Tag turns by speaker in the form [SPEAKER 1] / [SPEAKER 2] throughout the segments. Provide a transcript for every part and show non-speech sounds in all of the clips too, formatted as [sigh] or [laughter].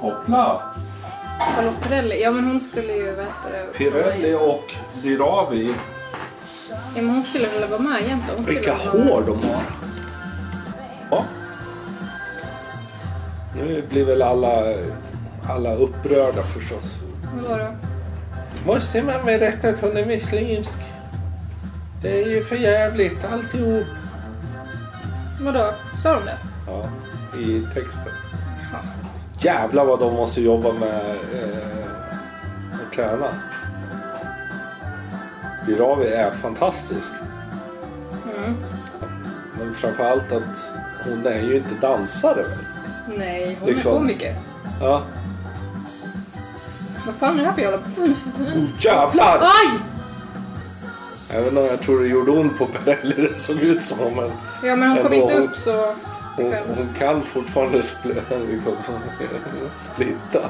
[SPEAKER 1] Hoppla!
[SPEAKER 2] Charlotte Perrelli, ja men hon skulle ju vad heter det?
[SPEAKER 1] Pirelli och Dirawi.
[SPEAKER 2] Ja, men hon skulle vilja vara med egentligen. Hon skulle
[SPEAKER 3] Vilka
[SPEAKER 2] vara-
[SPEAKER 3] hår de har! Ja. Nu blir väl alla, alla upprörda förstås.
[SPEAKER 2] Vadå då?
[SPEAKER 3] Måste man berätta att hon är muslimsk? Det är ju för jävligt alltihop.
[SPEAKER 2] Vadå? Sa de det?
[SPEAKER 3] Ja, i texten. Jävlar vad de måste jobba med eh, att träna. Dirawi är fantastisk.
[SPEAKER 2] Mm.
[SPEAKER 3] Men framförallt att hon är ju inte dansare väl?
[SPEAKER 2] Nej, hon
[SPEAKER 3] Liksom.
[SPEAKER 2] är komiker.
[SPEAKER 3] Ja.
[SPEAKER 2] Vad fan är det här för jävla...
[SPEAKER 3] Oh, jävlar!
[SPEAKER 2] Aj!
[SPEAKER 3] Även om jag tror det gjorde ont på Perrelli det såg ut som. Men
[SPEAKER 2] Ja men hon kom
[SPEAKER 3] Ändå
[SPEAKER 2] inte
[SPEAKER 3] hon-
[SPEAKER 2] upp så...
[SPEAKER 3] hon, hon kan fortfarande spl- liksom, [laughs] splitta.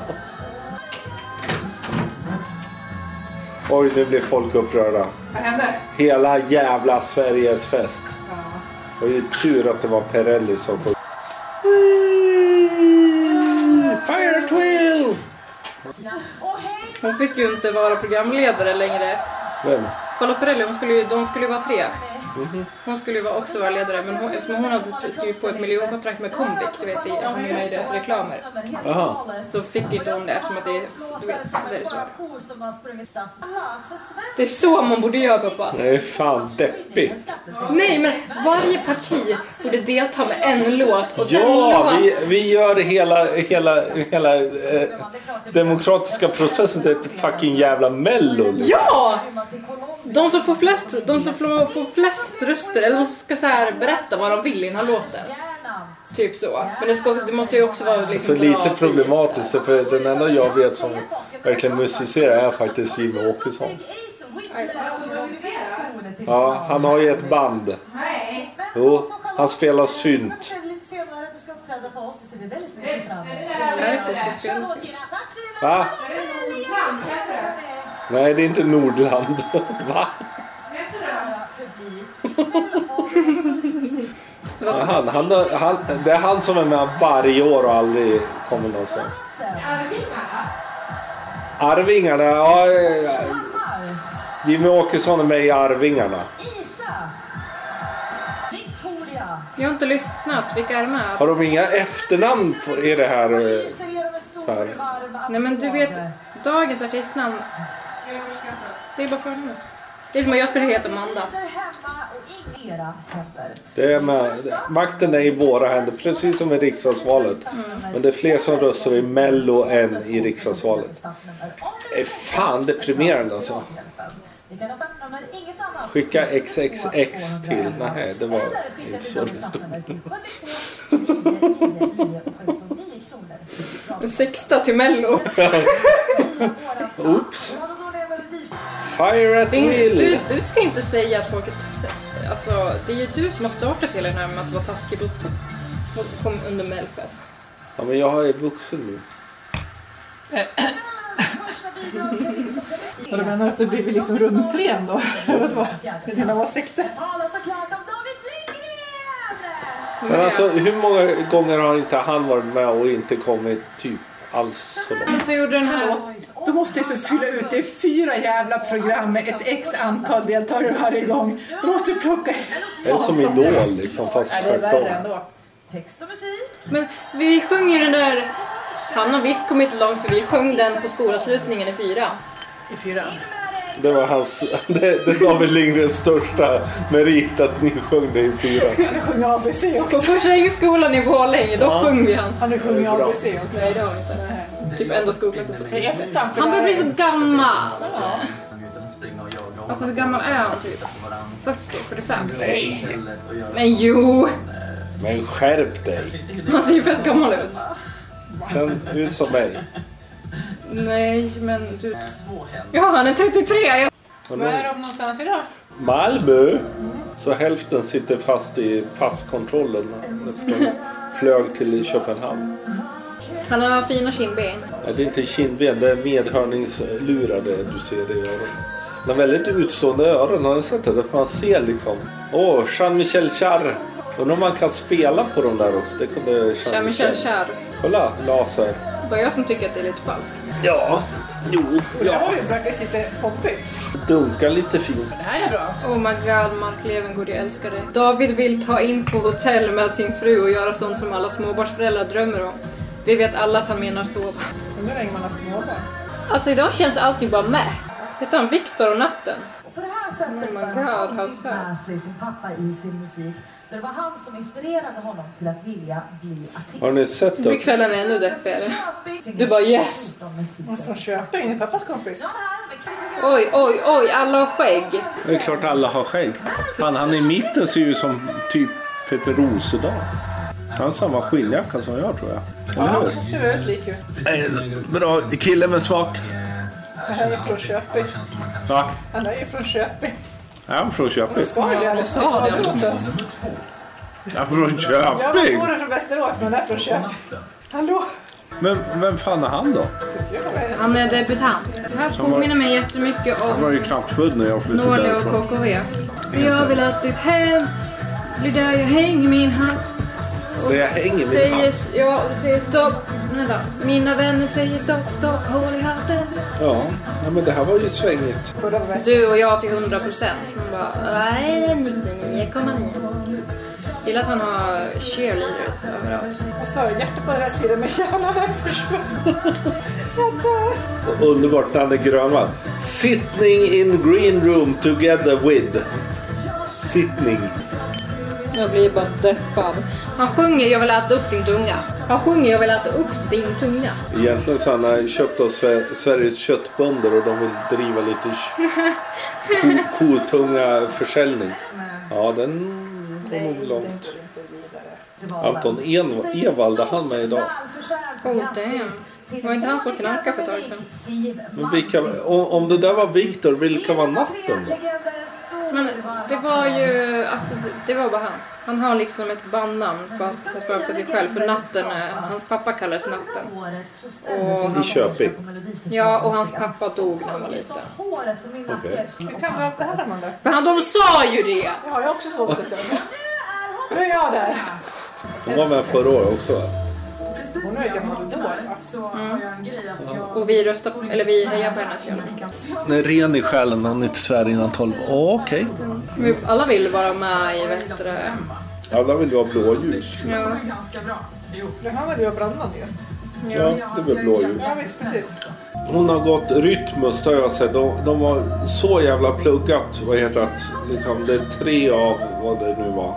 [SPEAKER 3] Oj, nu blir folk upprörda.
[SPEAKER 2] Vad hände?
[SPEAKER 3] Hela jävla Sveriges fest. Det var ju tur att det var Perrelli som sjöng. Fire Twill!
[SPEAKER 2] Hon fick ju inte vara programledare längre.
[SPEAKER 3] Vem?
[SPEAKER 2] Charlotte Perrelli, hon skulle ju, de skulle ju vara tre.
[SPEAKER 3] Mhm.
[SPEAKER 2] Hon skulle ju vara- också vara ledare men hon, eftersom hon hade skrivit på ett miljonkontrakt med Comviq, du vet i alltså Uniteds reklamer.
[SPEAKER 3] Jaha.
[SPEAKER 2] Så fick inte hon det eftersom att det är du vet, Sveriges Radio. Det
[SPEAKER 4] Det
[SPEAKER 2] är så man borde göra pappa.
[SPEAKER 3] Det är fan deppigt.
[SPEAKER 2] Nej men varje parti borde delta med en låt och den
[SPEAKER 3] Ja,
[SPEAKER 2] låt...
[SPEAKER 3] vi, vi gör hela, hela, hela eh, demokratiska processen till ett fucking jävla mello. liksom.
[SPEAKER 2] Ja! De som får flest, de som får, får flest röster, eller de som ska så här berätta vad de vill i den här låten. Typ så. Men det, ska, det måste ju också vara
[SPEAKER 3] Så
[SPEAKER 2] liksom
[SPEAKER 3] Alltså, lite
[SPEAKER 2] bra.
[SPEAKER 3] problematiskt för den enda jag vet som verkligen musicerar är faktiskt Jimmy Åkesson. Ja, han har ju ett band. Jo,
[SPEAKER 4] alltså,
[SPEAKER 3] han spelar synt.
[SPEAKER 2] Det här är folk som spelar musik.
[SPEAKER 3] Va?
[SPEAKER 4] [laughs]
[SPEAKER 3] Nej, det är inte Nordland. [laughs] Va? Ja, Han, han, har- han, det är han som är med varje år och aldrig kommer någonstans. Arvingarna? Ja, eh, Jimmy Åkesson är med i Arvingarna.
[SPEAKER 4] Isa! Victoria!
[SPEAKER 2] Jag har inte lyssnat. Vilka är med?
[SPEAKER 3] Har de inga efternamn på, i det här? eh,
[SPEAKER 4] Lyser genom en stor
[SPEAKER 3] så här.
[SPEAKER 4] varm
[SPEAKER 2] Nej men du vet,
[SPEAKER 4] applåd.
[SPEAKER 2] dagens artistnamn. Det är bara förnamnet. Det är som att jag skulle heta Amanda.
[SPEAKER 4] Där hemma och ingen era händer.
[SPEAKER 3] Det är med, makten är i våra händer, precis som i riksdagsvalet. Men det är fler som röstar i Mello än i riksdagsvalet. Det är fan deprimerande alltså.
[SPEAKER 4] Ni kan ha startnummer, inget annat.
[SPEAKER 3] Skicka XXX till. Nej, det var inte så det stod.
[SPEAKER 2] Den sexta till Mello.
[SPEAKER 3] Oops! Fire at
[SPEAKER 2] Det är inte,
[SPEAKER 3] will!
[SPEAKER 2] du, du ska inte säga att folk är... Alltså, det är ju du som har startat hela den här med att vara taskig mot mot- kom under Melfest.
[SPEAKER 3] Ja, men jag är vuxen nu.
[SPEAKER 5] Och du menar att du blivit liksom rumsren då? Eller vad det var? Med dina åsikter?
[SPEAKER 2] Mm.
[SPEAKER 3] Men alltså, hur många gånger har inte han varit med och inte kommit typ alls så långt?
[SPEAKER 2] Men så gjorde den här...
[SPEAKER 5] Du måste ju så fylla ut, det är fyra jävla program med ett x antal deltagare varje gång. Du måste ju plocka in...
[SPEAKER 3] Det är som Idol liksom, fast
[SPEAKER 5] Nej, det är värre
[SPEAKER 3] tvärtom.
[SPEAKER 5] ändå.
[SPEAKER 4] Text och musik.
[SPEAKER 2] Men vi sjöng ju den där... Han har visst kommit långt för vi sjöng den på skolavslutningen i fyran.
[SPEAKER 5] I fyran.
[SPEAKER 3] Det var hans... [laughs] Det, det var väl Lindgrens största merit att ni sjöng det i fyran.
[SPEAKER 5] Han sjöng ABC
[SPEAKER 2] På
[SPEAKER 5] också.
[SPEAKER 2] första ängskolan i Borlänge, då sjöng vi hans.
[SPEAKER 5] Han sjöng ABC också.
[SPEAKER 2] Nej, det har vi inte. Typ enda skolklassen som
[SPEAKER 5] I ettan, för
[SPEAKER 2] Han börjar
[SPEAKER 5] där-
[SPEAKER 2] bli så gammal.
[SPEAKER 6] Utan att springa och jaga och
[SPEAKER 2] Alltså hur
[SPEAKER 6] hålla
[SPEAKER 2] gammal är han typ?
[SPEAKER 6] på varandra.
[SPEAKER 2] 40, 45?
[SPEAKER 3] Nej,
[SPEAKER 6] Istället och göra
[SPEAKER 2] Men jo!
[SPEAKER 3] men skärp dig!
[SPEAKER 2] Han ser ju fett gammal ut.
[SPEAKER 3] Känn ut som mig.
[SPEAKER 2] Nej, men du...
[SPEAKER 6] små händer.
[SPEAKER 2] Ja, han är 33! Jag...
[SPEAKER 3] Och
[SPEAKER 5] Var är
[SPEAKER 3] nu,
[SPEAKER 5] de någonstans idag?
[SPEAKER 3] Malmö! Så hälften sitter fast i passkontrollen. Efter de flög till Köpenhamn.
[SPEAKER 2] Han har fina kindben.
[SPEAKER 3] Nej, det är inte kindben, det är medhörningslurade du ser i öronen. Han har väldigt utstående öron, har ni sett det? Därför man ser liksom... Åh, Jean-Michel Jarre! Undrar om man kan spela på dem där också. Det kunde
[SPEAKER 2] Kör,
[SPEAKER 3] Jean-Michel.
[SPEAKER 2] Michel, kör.
[SPEAKER 3] Kolla, laser.
[SPEAKER 2] bara jag som tycker att det är lite falskt.
[SPEAKER 3] Ja, jo,
[SPEAKER 5] Det här
[SPEAKER 3] ja.
[SPEAKER 5] var ju faktiskt lite poppigt.
[SPEAKER 3] Dunka lite fint.
[SPEAKER 5] Det här är bra.
[SPEAKER 2] Oh my god, Mark Levengood, jag älskar dig. David vill ta in på hotell med sin fru och göra sånt som alla småbarnsföräldrar drömmer om. Vi vet alla att han menar sova.
[SPEAKER 5] Undrar hur länge man har småbarn.
[SPEAKER 2] Alltså idag känns allting bara med. Hette han Viktor och natten?
[SPEAKER 4] På det här sättet
[SPEAKER 2] Oh my
[SPEAKER 4] bär
[SPEAKER 2] God,
[SPEAKER 4] han
[SPEAKER 2] how
[SPEAKER 4] alltid
[SPEAKER 2] sad.
[SPEAKER 4] med sig sin pappa i sin musik. Det var han som inspirerade honom till att vilja bli artist.
[SPEAKER 3] Har ni sett
[SPEAKER 2] Nu blir
[SPEAKER 3] det?
[SPEAKER 2] kvällen ännu deppigare. Du bara, yes!
[SPEAKER 5] Hon är från Köping, det är pappas kompis.
[SPEAKER 2] Oj, oj, oj, alla har skägg.
[SPEAKER 3] Det är klart alla har skägg. Han, han i mitten ser ju ut som typ Peter Rosedal. Han har samma skinnjacka som jag tror jag.
[SPEAKER 5] Ja, hon ser väldigt lik ut.
[SPEAKER 3] Bra kille men svag.
[SPEAKER 5] Det här är från Köping.
[SPEAKER 3] Ja,
[SPEAKER 5] Han är ju från Köping.
[SPEAKER 3] jag är från Köping.
[SPEAKER 5] Sa jag det alldeles nyss?
[SPEAKER 2] sa det alldeles
[SPEAKER 5] Någonstans.
[SPEAKER 3] Jag är från
[SPEAKER 5] Ja, men
[SPEAKER 3] Köping.
[SPEAKER 5] hon är från Västerås, men hon är från Köping. Hallå?
[SPEAKER 3] Men vem fan är han då?
[SPEAKER 2] Han är debutant. Det här påminner mig jättemycket
[SPEAKER 3] Han
[SPEAKER 2] om
[SPEAKER 3] var ju knappt född när jag flyttade
[SPEAKER 2] Norli och
[SPEAKER 3] därifrån.
[SPEAKER 2] KKV. För jag vill att ditt hem blir där jag hänger min hatt.
[SPEAKER 3] Där jag hänger min
[SPEAKER 2] Säger,
[SPEAKER 3] hand.
[SPEAKER 2] ja, och säger stopp. Vänta. Mina vänner säger stopp, stopp, håll i hatten.
[SPEAKER 3] Ja, ja, men det här var ju svängigt.
[SPEAKER 5] Förra var mest-
[SPEAKER 2] Du och jag till 100 procent. Man bara, nej, 99,9. Gillar att han har cheerleaders överallt.
[SPEAKER 5] Jag sa ju hjärtat på den här sidan, men hjärnan är försvunnen. Jag dör.
[SPEAKER 3] Och underbart Danne Grönvall. Sittning in green room together with. Sittning.
[SPEAKER 2] Jag blir bara deppad. Han sjunger Jag vill äta upp din tunga. Han sjunger Jag vill äta upp din tunga.
[SPEAKER 3] Egentligen så har han köpt av Sver- Sveriges köttbönder och de vill driva lite k- ko- kotunga försäljning. Ja, den går nog långt. Anton En- Evald, är han med idag?
[SPEAKER 2] Oh, damn. Var inte han som knackade för ett tag
[SPEAKER 3] Men vilka, om, om det där var Viktor, vilka var natten då?
[SPEAKER 2] Men det var ju, alltså det, det var bara han. Han har liksom ett bandnamn fast fast bara för sig själv för natten, är- hans pappa kallades natten. Och-
[SPEAKER 3] I Köping.
[SPEAKER 2] Ja, och hans pappa dog när han var liten.
[SPEAKER 3] Okej.
[SPEAKER 5] Hur kan du ha haft det här, Amanda?
[SPEAKER 2] För han, de sa ju det!
[SPEAKER 5] Ja, jag har också sovit en stund. Nu är jag där.
[SPEAKER 3] De var med förra året också va?
[SPEAKER 7] Precis
[SPEAKER 5] Hon
[SPEAKER 7] när
[SPEAKER 5] är
[SPEAKER 7] jag
[SPEAKER 5] gammal då,
[SPEAKER 7] vaknar
[SPEAKER 5] va?
[SPEAKER 7] så har jag en grej att jag...
[SPEAKER 2] Mm. Och vi röstar,
[SPEAKER 7] får inte
[SPEAKER 2] eller vi
[SPEAKER 7] svära
[SPEAKER 2] hejar på hennes
[SPEAKER 7] innan
[SPEAKER 2] kärlek.
[SPEAKER 7] jag-
[SPEAKER 3] Nej, ren i själen han inte svär innan tolv. Oh, Okej.
[SPEAKER 2] Vi alla vill vara med i vet du det.
[SPEAKER 7] Stämma.
[SPEAKER 3] Alla vill ju ha blåljus.
[SPEAKER 7] Det var ju ganska bra. Jo.
[SPEAKER 5] Nu hamnade vi och brandade ju.
[SPEAKER 3] Ja, det blir blåljus.
[SPEAKER 5] Ja, visst, precis.
[SPEAKER 3] Hon har gått Rytmus har jag sett. De, de har så jävla pluggat. Vad heter det? Liksom, det är tre av vad det nu var.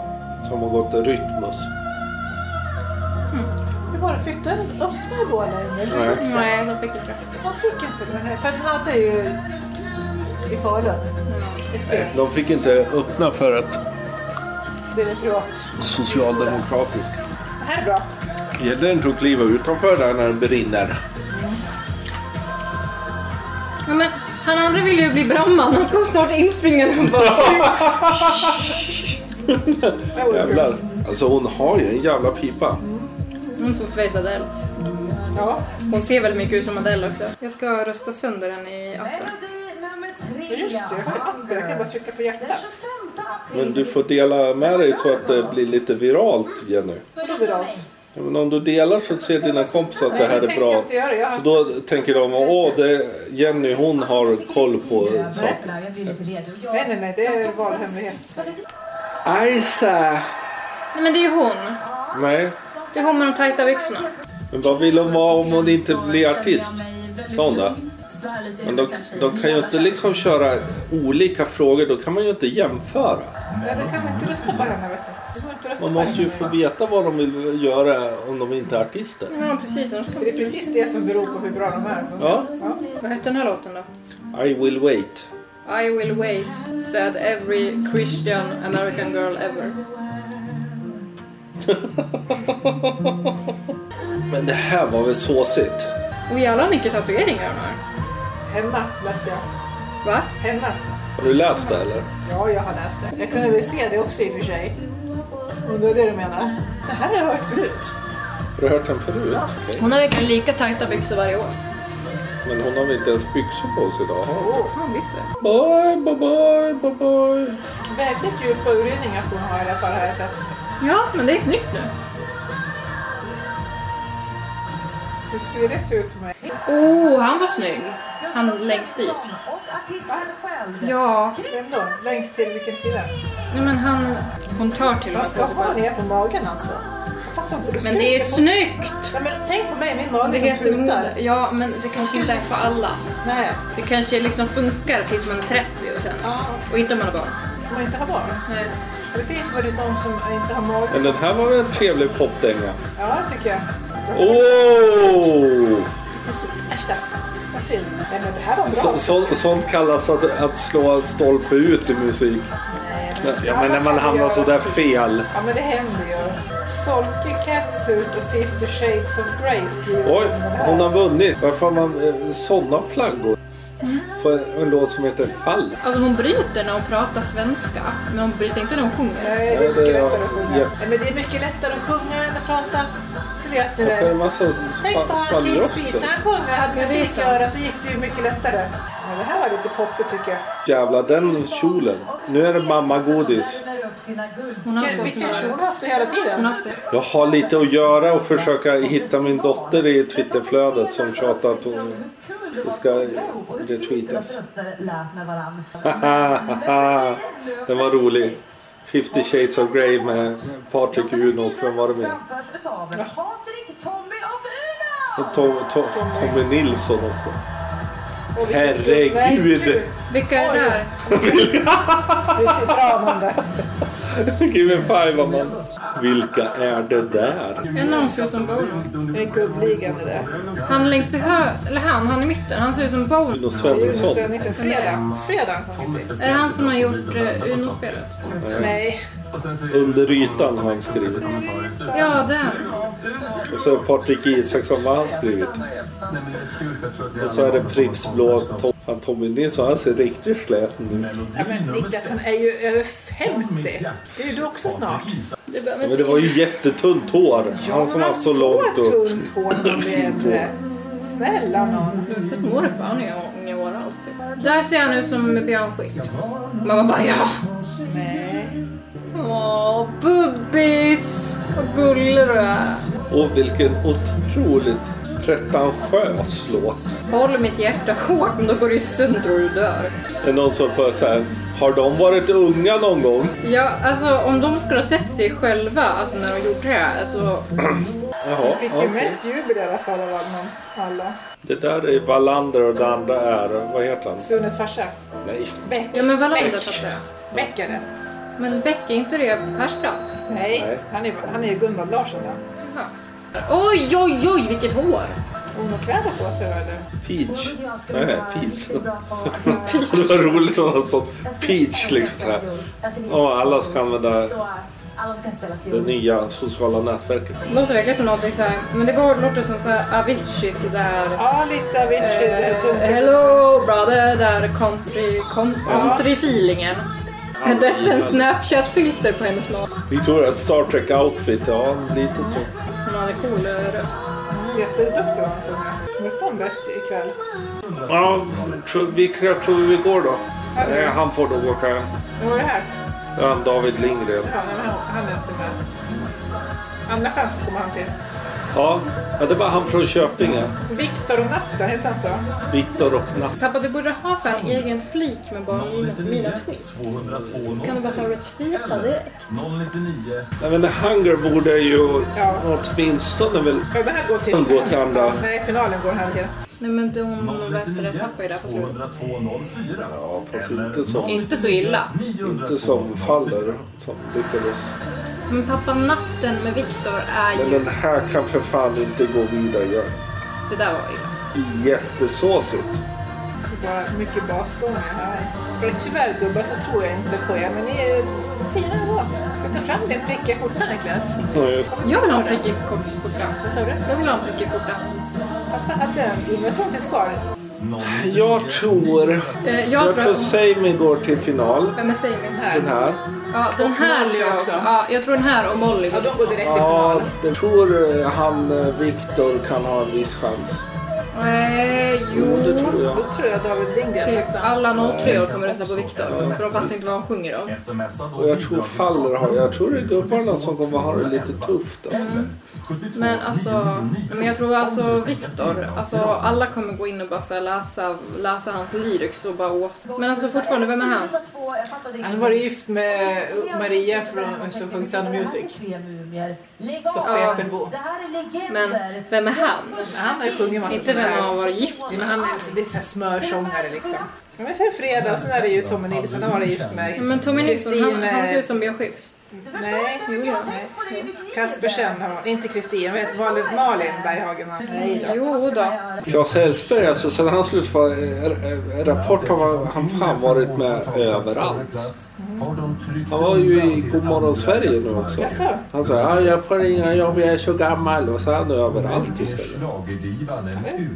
[SPEAKER 3] Som har gått Rytmus.
[SPEAKER 5] Hur var det? Fick du en öppna bålen?
[SPEAKER 3] Nej.
[SPEAKER 2] Nej, de fick inte.
[SPEAKER 5] De fick inte den här, för att han hade ju i Falun. I Sten.
[SPEAKER 3] De fick inte öppna för att
[SPEAKER 5] Det är privat.
[SPEAKER 3] socialdemokratisk.
[SPEAKER 5] Det här är bra.
[SPEAKER 3] Gäller det inte att kliva utanför där när det brinner?
[SPEAKER 2] Ja, men han andra ville ju bli brandman, han kom snart inspringande och bara...
[SPEAKER 5] Det vore kul.
[SPEAKER 3] Jävlar. Alltså hon har ju en jävla pipa.
[SPEAKER 2] Hon som Sveriges Adele.
[SPEAKER 5] Ja,
[SPEAKER 2] Hon ser väl mycket ut som Adele också. Jag ska rösta sönder den i appen.
[SPEAKER 4] Melodi nummer
[SPEAKER 5] men
[SPEAKER 4] tre.
[SPEAKER 5] just det. Jag har ju andra. Jag kan bara trycka på
[SPEAKER 4] Den
[SPEAKER 5] hjärtat.
[SPEAKER 4] 25 april.
[SPEAKER 3] Men du får dela med dig så att det blir lite viralt Jenny.
[SPEAKER 5] Vadå viralt?
[SPEAKER 3] Ja, Men om du delar så ser dina kompisar att det
[SPEAKER 5] Nej,
[SPEAKER 3] här
[SPEAKER 5] jag
[SPEAKER 3] är
[SPEAKER 5] tänker
[SPEAKER 3] bra.
[SPEAKER 5] inte göra det. Jag
[SPEAKER 3] Så
[SPEAKER 5] har...
[SPEAKER 3] då tänker de åh, det, Jenny hon har koll på saker.
[SPEAKER 4] Jag blir lite redo. Jag-
[SPEAKER 5] Nej, nej, nej. Det är valhemlighet.
[SPEAKER 3] Isa!
[SPEAKER 2] Nej men det är ju hon.
[SPEAKER 3] Nej,
[SPEAKER 2] Det är hon med de tajta byxorna.
[SPEAKER 3] men vad vill hon vara om hon inte blir artist? Sa hon det? Men de, de kan ju inte liksom köra olika frågor, då kan man ju inte jämföra.
[SPEAKER 5] Nej, det kan man inte rösta på henne, vet du. Du får inte rösta
[SPEAKER 3] Man
[SPEAKER 5] på
[SPEAKER 3] måste ju
[SPEAKER 5] henne.
[SPEAKER 3] få veta vad de vill göra om de inte är artister.
[SPEAKER 2] Ja precis, de ska...
[SPEAKER 5] Det är precis det som beror på hur bra de är.
[SPEAKER 3] Ja,
[SPEAKER 2] Vad hette den här låten då?
[SPEAKER 3] I will wait.
[SPEAKER 2] I will wait, said every Christian American girl ever.
[SPEAKER 3] Men det här var väl såsigt?
[SPEAKER 2] Och jävlar mycket tatueringar hon har.
[SPEAKER 5] Hemma läste jag.
[SPEAKER 2] Va?
[SPEAKER 5] Hemma.
[SPEAKER 3] Har du läst det eller?
[SPEAKER 5] Ja, jag har läst det. Jag kunde väl se det också i och för sig. Om det är det du menar. Det här har jag hört förut.
[SPEAKER 3] Har du hört den förut? Okej.
[SPEAKER 2] Hon har verkligen lika tajta byxor varje år.
[SPEAKER 3] Men hon har väl inte ens byxor på sig idag? har hon?
[SPEAKER 2] Ja, visst det.
[SPEAKER 3] Bye, bye, bye, bye, bye.
[SPEAKER 5] Väldigt djupa urringningar ska hon ha i alla fall har jag sett.
[SPEAKER 2] Ja, men det är snyggt nu.
[SPEAKER 5] Hur skulle det se ut med
[SPEAKER 2] Oh, han var snygg. Han längst dit.
[SPEAKER 4] Och artisten själv.
[SPEAKER 2] Ja,
[SPEAKER 5] vem då? Längst till vilken sida?
[SPEAKER 2] nej men han... Hon tar till och
[SPEAKER 5] Man
[SPEAKER 2] med
[SPEAKER 5] ska
[SPEAKER 2] på sig
[SPEAKER 5] ha
[SPEAKER 2] bara.
[SPEAKER 5] ner på magen alltså. Jag fattar inte.
[SPEAKER 2] Men det är snyggt!
[SPEAKER 5] Nej, men tänk på mig, min mage
[SPEAKER 2] Det
[SPEAKER 5] som
[SPEAKER 2] heter
[SPEAKER 5] prutar.
[SPEAKER 2] mode. Ja, men det kanske inte är för alla.
[SPEAKER 5] Nej,
[SPEAKER 2] Det kanske liksom funkar tills man är 30 och sen. Och inte om man har barn.
[SPEAKER 5] om man inte har barn.
[SPEAKER 2] Nej.
[SPEAKER 5] Det finns väl de som inte har mage.
[SPEAKER 3] Men den här var väl en trevlig popdänga?
[SPEAKER 5] Ja, det tycker jag.
[SPEAKER 3] Åh! Oh!
[SPEAKER 5] Äsch då. Vad synd. Nej, men det här var bra.
[SPEAKER 3] Så, så, sånt kallas att, att slå stolpe ut i musik. Ja, men när man hamnar så där fel.
[SPEAKER 5] Ja, men det händer ju. Solke Catsuit och 50 Shades of Grey skriver
[SPEAKER 3] Oj,
[SPEAKER 5] om det här.
[SPEAKER 3] hon har vunnit. Varför har man eh, såna flaggor? På en, en låt som heter Fall.
[SPEAKER 2] Alltså hon bryter när hon pratar svenska, men hon bryter inte när hon sjunger.
[SPEAKER 5] Nej, Eh, det är
[SPEAKER 3] Ja, det är- ja.
[SPEAKER 5] mycket lättare att sjunga. Nej, men det är mycket lättare att sjunga än att prata. Det vet
[SPEAKER 3] Varför
[SPEAKER 5] ni
[SPEAKER 3] är det
[SPEAKER 5] väl.
[SPEAKER 3] en massa
[SPEAKER 5] Tänk på
[SPEAKER 3] spa-
[SPEAKER 5] han
[SPEAKER 3] spallror
[SPEAKER 5] King
[SPEAKER 3] också?
[SPEAKER 5] Speech. När han sjöng och hade
[SPEAKER 2] Ja, det är
[SPEAKER 5] musik i
[SPEAKER 2] sant.
[SPEAKER 5] örat, då gick det ju mycket lättare. Men det här var lite poppigt tycker jag.
[SPEAKER 3] Jävlar, den kjolen. Nu är det Mm. mammagodis.
[SPEAKER 4] Värmer upp sina guld.
[SPEAKER 2] Hon har på sig
[SPEAKER 5] Vilken kjol har
[SPEAKER 2] några-
[SPEAKER 5] du haft det hela
[SPEAKER 2] hon
[SPEAKER 5] tiden?
[SPEAKER 2] har haft det.
[SPEAKER 3] Jag har lite att göra och försöka hitta min dotter i Twitterflödet som tjatar att hon... [laughs]
[SPEAKER 4] det
[SPEAKER 3] ska retweetas.
[SPEAKER 4] Hahaha,
[SPEAKER 3] Den var rolig. 50 Shades of Grey med Patrik Unholt. Vem var det med?
[SPEAKER 4] Patrik, Tommy och Uno!
[SPEAKER 3] Och Tom, Tom, Tommy Nilsson också. [laughs]
[SPEAKER 5] Och vilken-
[SPEAKER 3] Herregud!
[SPEAKER 2] Vilka är det här?
[SPEAKER 5] Det ser bra Amanda.
[SPEAKER 3] Give me five, man. Vilka är det där?
[SPEAKER 2] En av dem ser ut som Bono.
[SPEAKER 5] Det är Guldligan det där.
[SPEAKER 2] Han längst till höger, eller han, han i mitten, han ser ut som Bono.
[SPEAKER 3] Uno
[SPEAKER 5] Det är ju
[SPEAKER 3] Svenningsson.
[SPEAKER 5] Svenningsen. Fredag. Fredag.
[SPEAKER 2] Är det han som har gjort eh, Uno-spelet?
[SPEAKER 5] Nej.
[SPEAKER 3] Under ytan har han skrivit.
[SPEAKER 2] Ja, den.
[SPEAKER 3] Och så är det Patrik Isaksson, vad har han skrivit? Och så är det Pripps blå Tom, han Tommy Nilsson, han ser riktigt släten ut.
[SPEAKER 5] Ja, men Niklas han är ju över 50. Det är ju du också snart.
[SPEAKER 2] Det behöver
[SPEAKER 3] Men det
[SPEAKER 2] inte...
[SPEAKER 3] var ju jättetunt hår. Han som haft så långt
[SPEAKER 5] och...
[SPEAKER 3] och...
[SPEAKER 5] tunt hår när
[SPEAKER 3] [laughs]
[SPEAKER 5] man blir äldre. eh, Snälla nån.
[SPEAKER 2] Jag har sett morfar, han är unga år alltid. Där ser han ut som Björn Skifs. Mamma bara ja.
[SPEAKER 5] Nej.
[SPEAKER 2] Åh, bubbis! Vad gullig du är.
[SPEAKER 3] Och vilken otroligt pretentiös låt.
[SPEAKER 2] Håll mitt hjärta hårt, men då går det ju sönder och du dör.
[SPEAKER 3] Det är någon som får så här, har de varit unga någon gång?
[SPEAKER 2] Ja, alltså om de skulle ha sett sig själva alltså, när de gjorde det här, alltså,
[SPEAKER 3] Jaha,
[SPEAKER 5] Fick ju
[SPEAKER 3] okej.
[SPEAKER 5] mest jubel i alla fall av någon, alla.
[SPEAKER 3] Det där är Wallander och det andra är, vad heter han?
[SPEAKER 5] Sunes farsa.
[SPEAKER 3] Nej.
[SPEAKER 5] Beck.
[SPEAKER 2] Ja men Wallander
[SPEAKER 5] Beck.
[SPEAKER 2] fattar jag.
[SPEAKER 5] Beck är det.
[SPEAKER 2] Men Beck, är inte det Persbrandt?
[SPEAKER 5] Nej.
[SPEAKER 3] Nej.
[SPEAKER 5] Han är, han är ju Gunvald Larsson. ja.
[SPEAKER 2] Ja. Oj, oj, oj vilket hår!
[SPEAKER 5] Hon har kläder på sig eller?
[SPEAKER 3] Peach. Nej, Peach. [laughs] Det var roligt om något sånt. Peach liksom så här. Ja, alla ska använda
[SPEAKER 4] Alla ska spela
[SPEAKER 3] det
[SPEAKER 4] fiol.
[SPEAKER 3] nya sociala nätverket.
[SPEAKER 2] Det låter verkligen som någonting såhär, men det går, låter som ah, såhär Avicii sådär.
[SPEAKER 5] Ja, lite Avicii. det är
[SPEAKER 2] Eh,
[SPEAKER 5] dunkelt.
[SPEAKER 2] hello brother, där country, con- country-feelingen. Är detta en Snapchat-filter på hennes mat?
[SPEAKER 3] Vi tror att Star Trek outfit, ja lite så.
[SPEAKER 2] Hon hade cool eh, röst.
[SPEAKER 5] Jätteduktig hon sjunger. Visst är hon bäst ikväll?
[SPEAKER 3] Ja, tro- vilka tror vi går då? Nej, han får då åka.
[SPEAKER 5] Nu var det här.
[SPEAKER 3] Ja, David Lindgren.
[SPEAKER 5] Ja, men han, han är inte med. Andra chansen kommer han till.
[SPEAKER 3] Ja, ja, det var han från Köpinge.
[SPEAKER 5] Viktor och Natta, heter han så?
[SPEAKER 3] Viktor och Natt.
[SPEAKER 2] Pappa, du borde ha så här en egen flik med bara mina, mina tweets.
[SPEAKER 6] 202
[SPEAKER 2] Kan du bara så här retweeta det?
[SPEAKER 6] 099
[SPEAKER 3] Nej, men The Hunger borde ju
[SPEAKER 5] Ja.
[SPEAKER 3] åtminstone väl...
[SPEAKER 5] Ja, den här går till...
[SPEAKER 3] Den går till andra.
[SPEAKER 5] Nej, finalen går han till.
[SPEAKER 2] Nej men det- hon vet inte, den tappar ju det här på slutet.
[SPEAKER 6] 20204.
[SPEAKER 3] Ja, fast inte som,
[SPEAKER 2] Inte så illa.
[SPEAKER 3] inte som faller. Som lyckades.
[SPEAKER 2] Men pappa, natten med Viktor är
[SPEAKER 3] Men
[SPEAKER 2] ju...
[SPEAKER 3] den här kan för fan inte gå vidare. Jag-
[SPEAKER 2] Det där var illa.
[SPEAKER 3] Jättesåsigt.
[SPEAKER 5] Det var mycket basgångar här. För tyvärr gubbar så tror jag inte på er, men ni är fina ändå. Ta fram din prickiga skjorta Niklas.
[SPEAKER 3] Ja, just.
[SPEAKER 2] Jag vill ha en prickig kort- skjorta.
[SPEAKER 5] Vad sa du?
[SPEAKER 2] Jag vill ha en prickig skjorta.
[SPEAKER 5] Pappa hade en. Jag tror hon finns kvar.
[SPEAKER 3] Jag tror...
[SPEAKER 2] Eh, jag
[SPEAKER 3] Jag tror
[SPEAKER 2] tror...
[SPEAKER 3] Sami går till final.
[SPEAKER 2] Vem är Sami?
[SPEAKER 3] Den
[SPEAKER 5] Här.
[SPEAKER 3] här.
[SPEAKER 2] Ja, den här
[SPEAKER 5] Molly
[SPEAKER 2] tror jag
[SPEAKER 5] också.
[SPEAKER 2] också. Ja, jag tror den här och Molly.
[SPEAKER 5] Ja, de går direkt i
[SPEAKER 3] Ja,
[SPEAKER 5] final.
[SPEAKER 3] jag tror eh, han eh, Viktor kan ha en viss chans.
[SPEAKER 2] Nej, jo.
[SPEAKER 1] det tror jag.
[SPEAKER 5] Då tror jag David Lindgren
[SPEAKER 2] Typ
[SPEAKER 5] nästan.
[SPEAKER 2] alla 03 kommer rösta på Viktor. För de fattar inte vad han sjunger om.
[SPEAKER 6] Smsa då
[SPEAKER 3] Och jag tror Faller har... Jag tror det är gubbarna som kommer ha det lite tufft. Alltså.
[SPEAKER 2] Mm. Men alltså, men jag tror alltså Viktor, alltså alla kommer gå in och bara så här läsa, läsa hans lyrics och bara åt. Men alltså fortfarande, vem är han?
[SPEAKER 5] Han var gift med Maria från som sjöng Sound of Music. Uppe i
[SPEAKER 4] Ja.
[SPEAKER 5] Äppelbo.
[SPEAKER 4] Det här är legender.
[SPEAKER 2] Men vem är han?
[SPEAKER 5] Han har ju sjungit massa
[SPEAKER 2] Inte vem han har varit gift
[SPEAKER 5] Men han är, det är så här smörsångare liksom. Men sen fredag, sen är det ju Tommy Nilsson, han var gift med eh,
[SPEAKER 2] Men Tommy Nilsson, han, han ser ut som Björn Skifs.
[SPEAKER 5] Nej,
[SPEAKER 4] Jo,
[SPEAKER 2] jo,
[SPEAKER 4] ja.
[SPEAKER 5] Kaspersen, han var- inte Kristin, vet Malin, Malin Berghagen. han- Nej, då.
[SPEAKER 2] Jo då.
[SPEAKER 3] Claes Hellsberg, alltså sen han slutade eh, Rapport har han fan varit med överallt. Han var ju i Godmorgon Sverige nu också.
[SPEAKER 5] Jaså?
[SPEAKER 3] Han sa ja, jag får inga jobb, jag är så gammal. Och så är han överallt istället.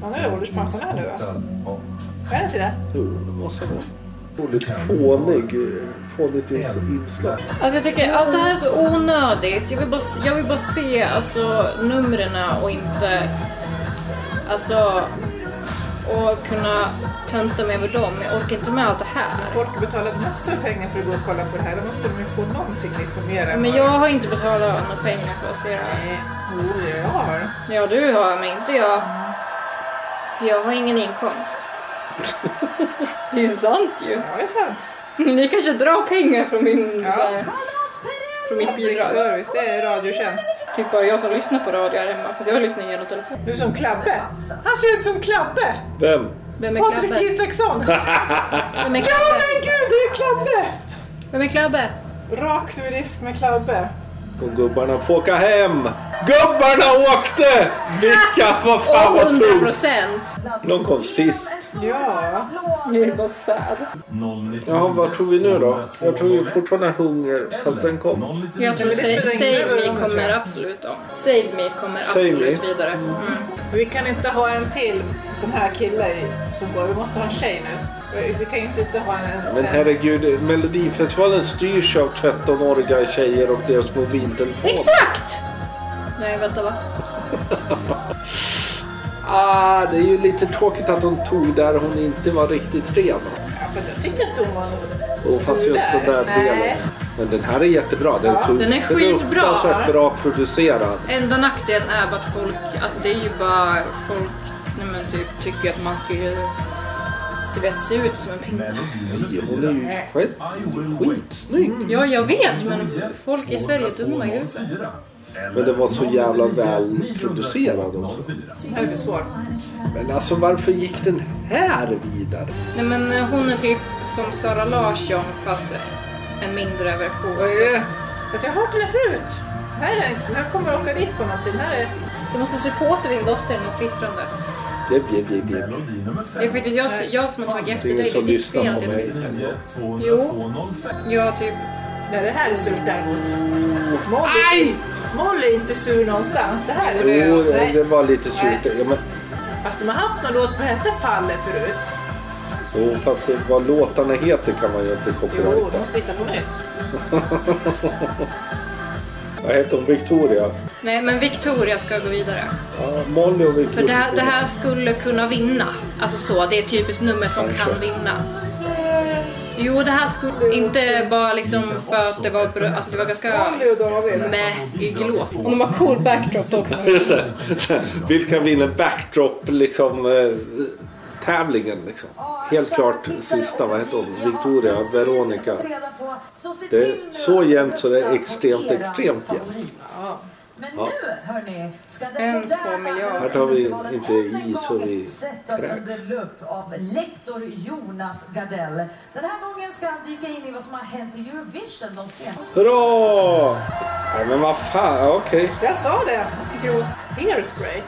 [SPEAKER 5] Han är ålderspensionär nu, Är det inte det?
[SPEAKER 3] Jo, det måste han vara. Otroligt fånig, eh, fånigt ins- inslag.
[SPEAKER 2] Alltså jag tycker allt det här är så onödigt. Jag vill bara, jag vill bara se alltså numren och inte... Alltså... Och kunna tönta mig över dem. Jag orkar inte med allt det här.
[SPEAKER 5] Folk har betalat massor av pengar för att gå och kolla på det här. Då måste de ju få någonting liksom mer än
[SPEAKER 2] Men
[SPEAKER 5] vad-
[SPEAKER 2] jag har inte betalat några pengar för att se det här.
[SPEAKER 5] Nej, Jo, jag har.
[SPEAKER 2] Ja, du har, men inte jag. För jag har ingen inkomst. [laughs] Det är ju sant ju.
[SPEAKER 5] Ja, det är sant.
[SPEAKER 2] Ni kanske drar pengar från min...
[SPEAKER 5] Ja.
[SPEAKER 2] Så här, från mitt
[SPEAKER 5] Public
[SPEAKER 2] bidrag.
[SPEAKER 5] service, det är radiotjänst.
[SPEAKER 2] Typ bara jag som lyssnar på radio här hemma. Fast jag lyssnar genom telefon.
[SPEAKER 5] Du är som Klabbe. Han ser ut som Klabbe!
[SPEAKER 3] Vem?
[SPEAKER 2] Vem är
[SPEAKER 5] Patrik
[SPEAKER 2] Klabbe? [laughs]
[SPEAKER 5] Isaksson.
[SPEAKER 2] Vem är
[SPEAKER 5] Ja,
[SPEAKER 2] Klabbe?
[SPEAKER 5] men gud, det är Klabbe!
[SPEAKER 2] Vem är Klabbe?
[SPEAKER 5] Rakt ur disk med Klabbe.
[SPEAKER 3] Och gubbarna får åka hem! Gubbarna åkte! Vilka, vad fan
[SPEAKER 2] Åh,
[SPEAKER 3] vad
[SPEAKER 2] 100
[SPEAKER 3] tungt!
[SPEAKER 2] procent!
[SPEAKER 3] Någon kom sist.
[SPEAKER 5] Ja.
[SPEAKER 2] Det är bara sad.
[SPEAKER 3] Ja, vad tror vi nu då? Jag tror ju fortfarande hunger, fast den kom.
[SPEAKER 2] Jag tror Sa-
[SPEAKER 5] spelar ingen
[SPEAKER 2] Save
[SPEAKER 5] roll,
[SPEAKER 2] Me
[SPEAKER 5] tror
[SPEAKER 2] kommer
[SPEAKER 5] jag.
[SPEAKER 2] absolut om. Save Me kommer
[SPEAKER 3] Save
[SPEAKER 2] absolut
[SPEAKER 3] Me.
[SPEAKER 2] vidare. Mm.
[SPEAKER 5] Vi kan inte ha en till sån här kille i- som går. Vi måste ha en tjej nu. Vi- Vi kan ju inte ha en...
[SPEAKER 3] Men herregud, Melodifestivalen styrs av 13-åriga tjejer och deras mobiltelefoner.
[SPEAKER 2] Exakt! Nej, vänta va?
[SPEAKER 3] Ah, det är ju lite tråkigt att hon tog där hon inte var riktigt ren.
[SPEAKER 5] Ja, fast jag tycker inte hon var någon...
[SPEAKER 3] Och fast just den där
[SPEAKER 5] Nej.
[SPEAKER 3] delen. Men den här är jättebra. Den, ja,
[SPEAKER 2] den är skitbra.
[SPEAKER 3] bra producerad.
[SPEAKER 2] Enda nackdelen är bara att folk, alltså det är ju bara folk, nej men typ tycker att man ska ju, du vet, se ut som en pinne.
[SPEAKER 3] Hon är ju skit, skitsnygg.
[SPEAKER 2] Ja, jag vet, men folk i Sverige är dumma i huvudet.
[SPEAKER 3] Men den var så jävla väl producerad också.
[SPEAKER 5] Det är svårt.
[SPEAKER 3] Men alltså varför gick den här vidare?
[SPEAKER 2] Nej men eh, hon är typ som Sara Larsson fast en mindre version. Så
[SPEAKER 5] Fast jag har hört den här förut. Här, är- här kommer jag åka dit på någonting. Här är...
[SPEAKER 2] Du måste supporta din dotter i något twittrande.
[SPEAKER 3] Det blev det, det.
[SPEAKER 6] Melodi nummer fem.
[SPEAKER 2] Det är faktiskt jag, jag som har tagit efter
[SPEAKER 3] Det är ingen
[SPEAKER 2] dig, det är
[SPEAKER 3] som
[SPEAKER 2] ditt
[SPEAKER 3] lyssnar
[SPEAKER 2] fel.
[SPEAKER 3] på
[SPEAKER 2] Det är
[SPEAKER 3] mig.
[SPEAKER 2] mitt.
[SPEAKER 6] 9, 200,
[SPEAKER 2] Jo.
[SPEAKER 6] 205.
[SPEAKER 2] Jag typ,
[SPEAKER 5] Nej, det här är surt däremot. Molly, Molly är inte sur någonstans. Det här är
[SPEAKER 3] Jo,
[SPEAKER 5] sur. Nej.
[SPEAKER 3] det var lite surt. Ja, men,
[SPEAKER 5] Fast de har haft någon låt som hette Faller förut.
[SPEAKER 3] jo, fast vad låtarna heter kan man ju inte
[SPEAKER 5] Jo, de
[SPEAKER 3] copyrighta.
[SPEAKER 5] måste hitta på nytt.
[SPEAKER 3] Vad heter hon? Victoria?
[SPEAKER 2] nej men Victoria ska gå vidare.
[SPEAKER 3] Ja, Molly och Victoria.
[SPEAKER 2] För det här, det här skulle kunna vinna. Alltså så, det är ett typiskt nummer som kan vinna. Jo, det här skulle inte bara liksom för att det var bra, alltså det var ganska
[SPEAKER 5] Molly och David.
[SPEAKER 2] med i låt. Om de har cool backdrop då kan
[SPEAKER 3] [laughs] Så här, så här, Vilka vinner backdrop liksom eh, tävlingen liksom? Helt klart sista, vad heter hon? Victoria, Veronica.
[SPEAKER 4] Det är så jämnt så det är extremt, extremt jämnt. Men nu, hörni, ska den
[SPEAKER 2] En, två
[SPEAKER 4] moderna
[SPEAKER 2] miljarder.
[SPEAKER 3] Här tar vi
[SPEAKER 4] Melodifestivalen
[SPEAKER 3] inte
[SPEAKER 4] än
[SPEAKER 3] i
[SPEAKER 4] en
[SPEAKER 3] så
[SPEAKER 4] gång
[SPEAKER 3] vi
[SPEAKER 4] sättas
[SPEAKER 3] kräks.
[SPEAKER 4] under lupp av lektor Jonas Gardell. Den här gången ska han dyka in i vad som har hänt i Eurovision de senaste...
[SPEAKER 3] Hurra! Nej, men vad fan, ja, okej.
[SPEAKER 5] Jag sa det. Jo, hairspray.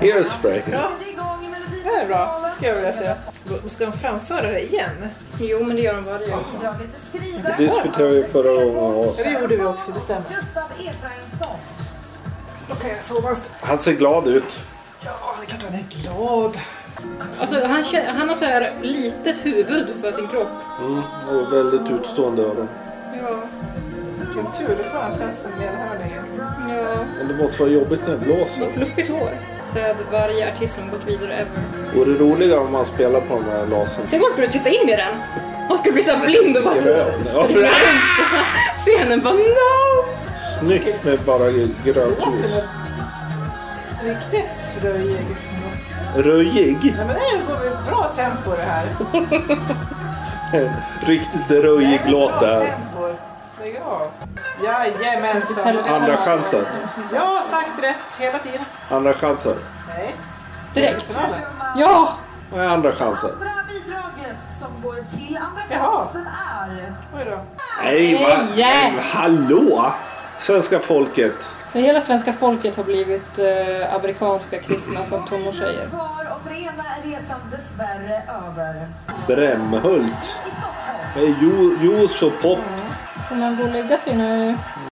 [SPEAKER 3] Hairspray.
[SPEAKER 5] Ja.
[SPEAKER 4] Det är igång i
[SPEAKER 5] Det här är bra,
[SPEAKER 4] Melodifestivalen.
[SPEAKER 5] ska jag vilja säga. Ska de framföra det igen?
[SPEAKER 2] Jo, men det gör de varje år.
[SPEAKER 4] Bidraget till
[SPEAKER 3] Det
[SPEAKER 4] skrivaren...
[SPEAKER 3] diskuterade vi förra gången. och
[SPEAKER 5] Ja, det gjorde vi också, det stämmer.
[SPEAKER 4] Gustav Efraimsson.
[SPEAKER 5] Då kan jag sova en stund.
[SPEAKER 3] Han ser glad ut.
[SPEAKER 5] Ja, det är klart han är glad.
[SPEAKER 2] Alltså han, kä- han har så här litet huvud för sin kropp.
[SPEAKER 3] Mm, och väldigt utstående öron.
[SPEAKER 2] Ja,
[SPEAKER 5] Vilken tur, det är fan att han som är här längre.
[SPEAKER 2] ja. Ja,
[SPEAKER 3] Men det måste vara jobbigt när det blåser.
[SPEAKER 2] och fluffigt hår. Så hade varje artist som gått vidare ever.
[SPEAKER 3] Vore det roligare om man spelar på den här lasern?
[SPEAKER 2] Tänk om hon skulle titta in i den. Hon skulle bli så här blind och bara så
[SPEAKER 3] Ja, för det är
[SPEAKER 2] scenen bara no!
[SPEAKER 3] snyggt med bara grönt ljus.
[SPEAKER 5] Riktigt röjig.
[SPEAKER 3] Röjig?
[SPEAKER 5] Nej, men det går väl bra tempo det här.
[SPEAKER 3] Riktigt röjig låt det
[SPEAKER 5] Bra
[SPEAKER 3] här.
[SPEAKER 5] tempo. Lägg av. Jajamensan.
[SPEAKER 3] Andra chansen.
[SPEAKER 5] Jag har sagt rätt hela tiden.
[SPEAKER 3] Andra chansen.
[SPEAKER 5] Nej.
[SPEAKER 2] Direkt. Ja!
[SPEAKER 3] Nej, andra chansen.
[SPEAKER 4] Andra bidraget som går till andra
[SPEAKER 5] Jaha.
[SPEAKER 4] platsen är...
[SPEAKER 5] Oj då.
[SPEAKER 3] Nej, va?
[SPEAKER 2] Nej, yeah.
[SPEAKER 3] Men Hallå! Svenska folket.
[SPEAKER 2] Så hela svenska folket har blivit eh, amerikanska kristna som tonårstjejer.
[SPEAKER 4] Kvar och för ena är resan dessvärre över.
[SPEAKER 3] Brämhult.
[SPEAKER 4] I Stockholm.
[SPEAKER 3] Nej, ju- Juice och pop.
[SPEAKER 2] Får man gå och lägga sig nu?